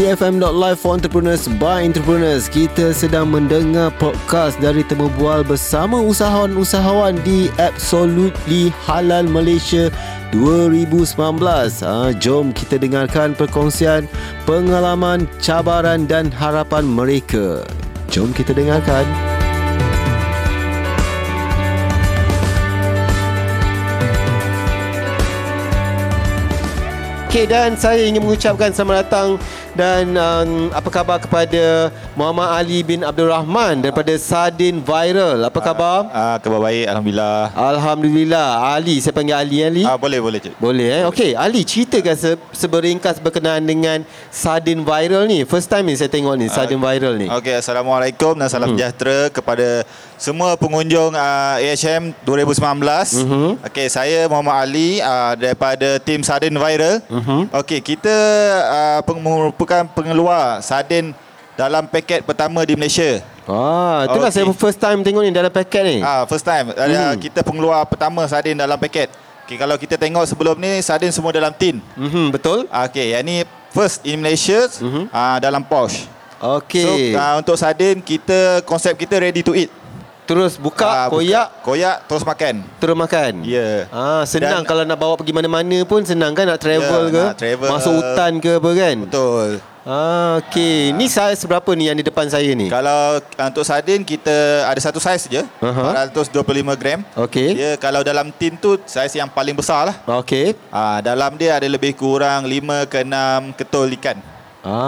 E BFM.live for entrepreneurs by entrepreneurs. Kita sedang mendengar podcast dari temu bual bersama usahawan-usahawan di Absolutely Halal Malaysia 2019. Ha, jom kita dengarkan perkongsian pengalaman, cabaran dan harapan mereka. Jom kita dengarkan. Okey dan saya ingin mengucapkan selamat datang dan um, apa khabar kepada Muhammad Ali bin Abdul Rahman daripada Sadin Viral. Apa khabar? Ah, khabar baik alhamdulillah. Alhamdulillah. Ali, saya panggil Ali Ali. Ah, boleh boleh cik. Boleh eh. Okey, Ali ceritakan se- seberingkas berkenaan dengan Sardin Viral ni. First time ni saya tengok ni Ah. Sardin Viral ni. Okey, assalamualaikum dan salam sejahtera kepada semua pengunjung uh, AHM 2019. Mm-hmm. Okey, saya Muhammad Ali uh, daripada tim Sardin Viral. Mm-hmm. Okey, kita uh, peng- merupakan pengeluar sardin dalam paket pertama di Malaysia. Ah, itulah Okey. saya first time tengok ni dalam paket ni. Ah, first time ada Mm. kita pengeluar pertama sardin dalam paket. Okey, kalau kita tengok sebelum ni sardin semua dalam tin. Ah, Mhm, betul? Okey, yang ni first in Malaysia mm-hmm. uh, dalam pouch. So Okey. uh, untuk sardin kita konsep kita ready to eat. terus buka, Ah, buka- koyak, Koyak terus makan. terus makan. Ya. Ah, senang Dan- kalau nak bawa pergi mana-mana pun senang kan nak travel Ya, ke? nak travel. Masuk hutan ke apa kan? Betul. Ah, okey. Ni saya seberapa ni yang di depan saya ni? Kalau ah, untuk sardin kita ada satu saiz je, Aha. Eh. 425 gram. Okey. Ya, kalau dalam tin tu saiz yang paling besar lah. Okey. Ah, dalam dia ada lebih kurang 5 ke 6 ketul ikan.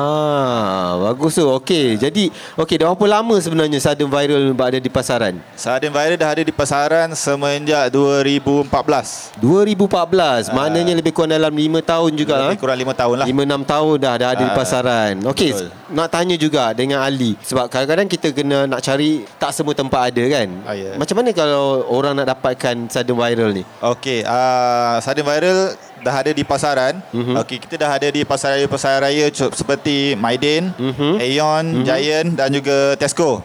Ah, bagus tu. Okey. Jadi, okey, dah berapa lama sebenarnya sudden viral ada di pasaran? Sardin viral dah ada di pasaran semenjak 2014. 2014. Maknanya lebih kurang dalam 5 tahun juga. Ah. ah. Lebih kurang 5 tahun lah. 5 6 tahun dah dah ada di Ah, pasaran. Okey, betul. nak tanya juga dengan Ali sebab kadang-kadang kita kena nak cari tak semua tempat ada kan. Ah, ya. Macam mana kalau orang nak dapatkan sudden viral ni? Okey, uh, sardin viral dah ada di pasaran. Mhm. Mm-hmm. Okey, kita dah ada di pasaran pasar raya co- seperti Maiden, Mhm. mm-hmm. Aeon, mm-hmm. Giant dan juga Tesco.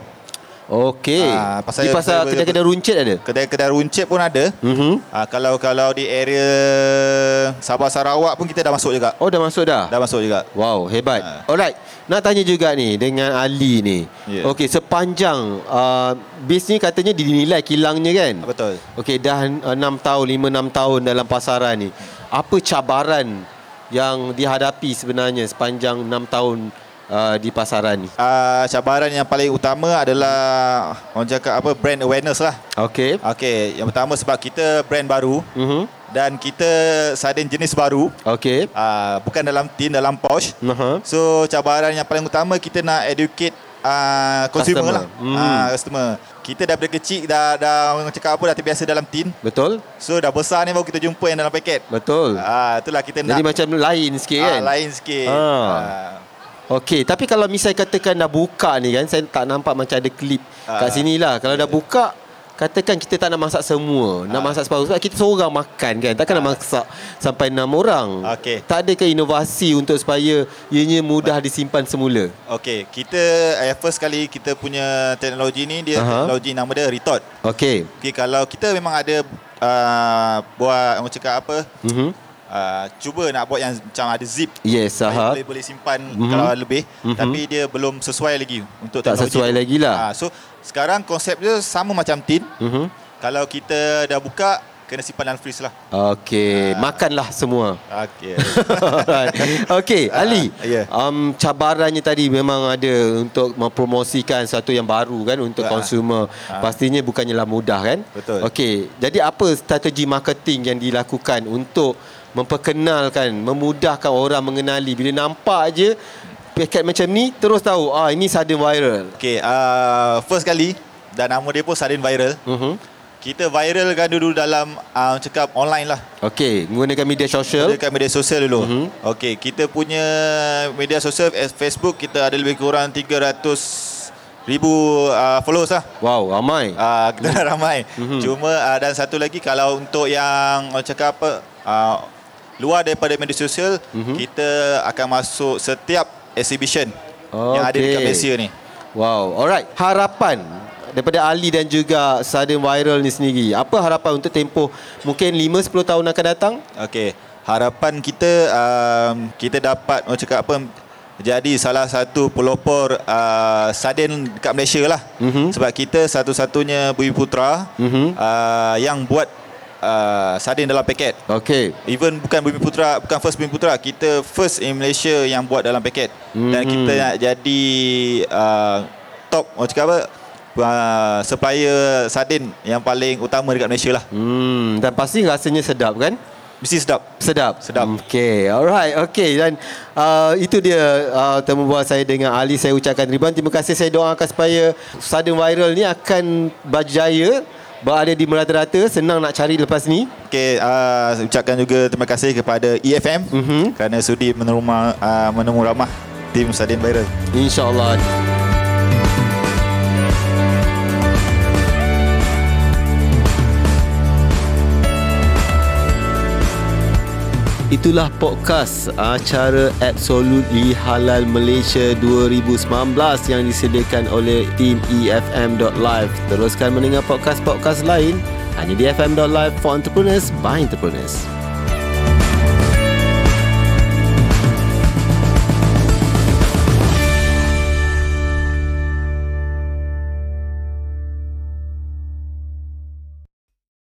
Okey. Ah, pasal- di pasar kedai-kedai runcit ada. Kedai-kedai runcit pun ada. Mhm. Uh, kalau kalau di area Sabah Sarawak pun kita dah masuk juga. Oh, dah masuk dah. Dah masuk juga. Wow, hebat. Ha. Alright, nak tanya juga ni dengan Ali ni. Ya. Okey, sepanjang uh, bis ni katanya dinilai kilangnya kan? Betul. Okey, dah uh, 6 tahun, 5 6 tahun dalam pasaran ni. Apa cabaran yang dihadapi sebenarnya sepanjang 6 tahun uh, di pasaran ni? Uh, cabaran yang paling utama adalah orang cakap apa brand awareness lah. Okey. Okey, yang pertama sebab kita brand baru Mhm. dan kita sardin jenis baru. Okey. Uh, bukan dalam tin dalam pouch. Aha. So cabaran yang paling utama kita nak educate uh, consumer Customer. lah. Hmm. Hmm. Uh, customer. Kita daripada kecil dah dah orang cakap apa dah terbiasa dalam tin. Betul? So dah besar ni baru kita jumpa yang dalam paket. Betul. Ah uh, itulah kita Jadi nak macam lain sikit ah, kan? lain sikit. Ah. Ah. Okey, tapi kalau misal katakan dah buka ni kan, saya tak nampak macam ada klip kat Ah. sini lah. Kalau dah buka, katakan kita tak nak masak semua. Ah. Nak masak separuh. Sebab kita seorang makan kan. Takkan nak masak sampai enam orang. Okey. Tak ada ke inovasi untuk supaya ianya mudah disimpan semula? Okey, kita eh, first kali kita punya teknologi ni dia Aha. teknologi nama dia retort. Okey. Okey, kalau kita memang ada uh, buat orang cakap apa? Mm-hmm. Uh, cuba nak buat yang macam ada zip Yes, Aha. aha. boleh boleh simpan Mhm. mm-hmm. kalau lebih Mhm. mm-hmm. tapi dia belum sesuai lagi untuk Tak teknologi sesuai tu. lagi lah. Ah, so sekarang konsep dia sama macam tin. Mm-hmm. Kalau kita dah buka kena simpan dalam freeze lah. Ah. Okey, makanlah semua. Okey. Okey, Ali. Ah, ya. Um cabarannya tadi memang ada untuk mempromosikan sesuatu yang baru kan untuk Ah, consumer. ah. Pastinya bukannya lah mudah kan? Betul. Okey, jadi apa strategi marketing yang dilakukan untuk memperkenalkan, memudahkan orang mengenali bila nampak aje paket macam ni terus tahu ah ini sudden viral. Okey, uh, first kali dan nama dia pun sudden viral. Mhm. Kita viralkan dulu dalam uh, cakap online lah. Okey, menggunakan media sosial. Dekat media sosial Mhm. dulu. Mm-hmm. Okey, kita punya media sosial eh, Facebook kita ada lebih kurang 300 ribu uh, followers lah. Wow, ramai. Ah, kita dah ramai. Mm-hmm. Cuma uh, dan satu lagi kalau untuk yang orang cakap apa uh, luar daripada media sosial, mm-hmm. kita akan masuk setiap exhibition Oh, yang ada okey. dekat Malaysia ni. Wow, alright. Harapan daripada Ali dan juga Sudden Viral ni sendiri. Apa harapan untuk tempoh mungkin 5 10 tahun akan datang? Okey. Harapan kita um, kita dapat ah, orang cakap apa jadi salah satu pelopor uh, sardin dekat Malaysia lah. Mm-hmm. Sebab kita satu-satunya Bumi Putra mm-hmm. uh, yang buat uh, sardin dalam paket. Okey. Even bukan Bumi Putra, bukan first Bumi Putra, kita first in Malaysia yang buat dalam paket. Mm-hmm. Dan kita nak jadi uh, top, orang cakap apa? Uh, supplier sardin yang paling utama dekat Malaysia lah. Hmm, dan pasti rasanya sedap kan? Mesti sedap. Sedap. Sedap. Okey. Alright. Okey dan uh, itu dia uh, temu bual saya dengan Ali. Saya ucapkan ribuan terima kasih. Saya doakan supaya sudden viral ni akan berjaya berada di merata-rata senang nak cari lepas ni Okey, uh, ucapkan juga terima kasih kepada EFM mm-hmm. kerana sudi menerima uh, menemu ramah tim Sardin Viral. insyaallah Itulah podcast acara Absolutely Halal Malaysia 2019 yang disediakan oleh tim E EFM.live. E Teruskan mendengar podcast-podcast lain hanya di FM.live for entrepreneurs by entrepreneurs.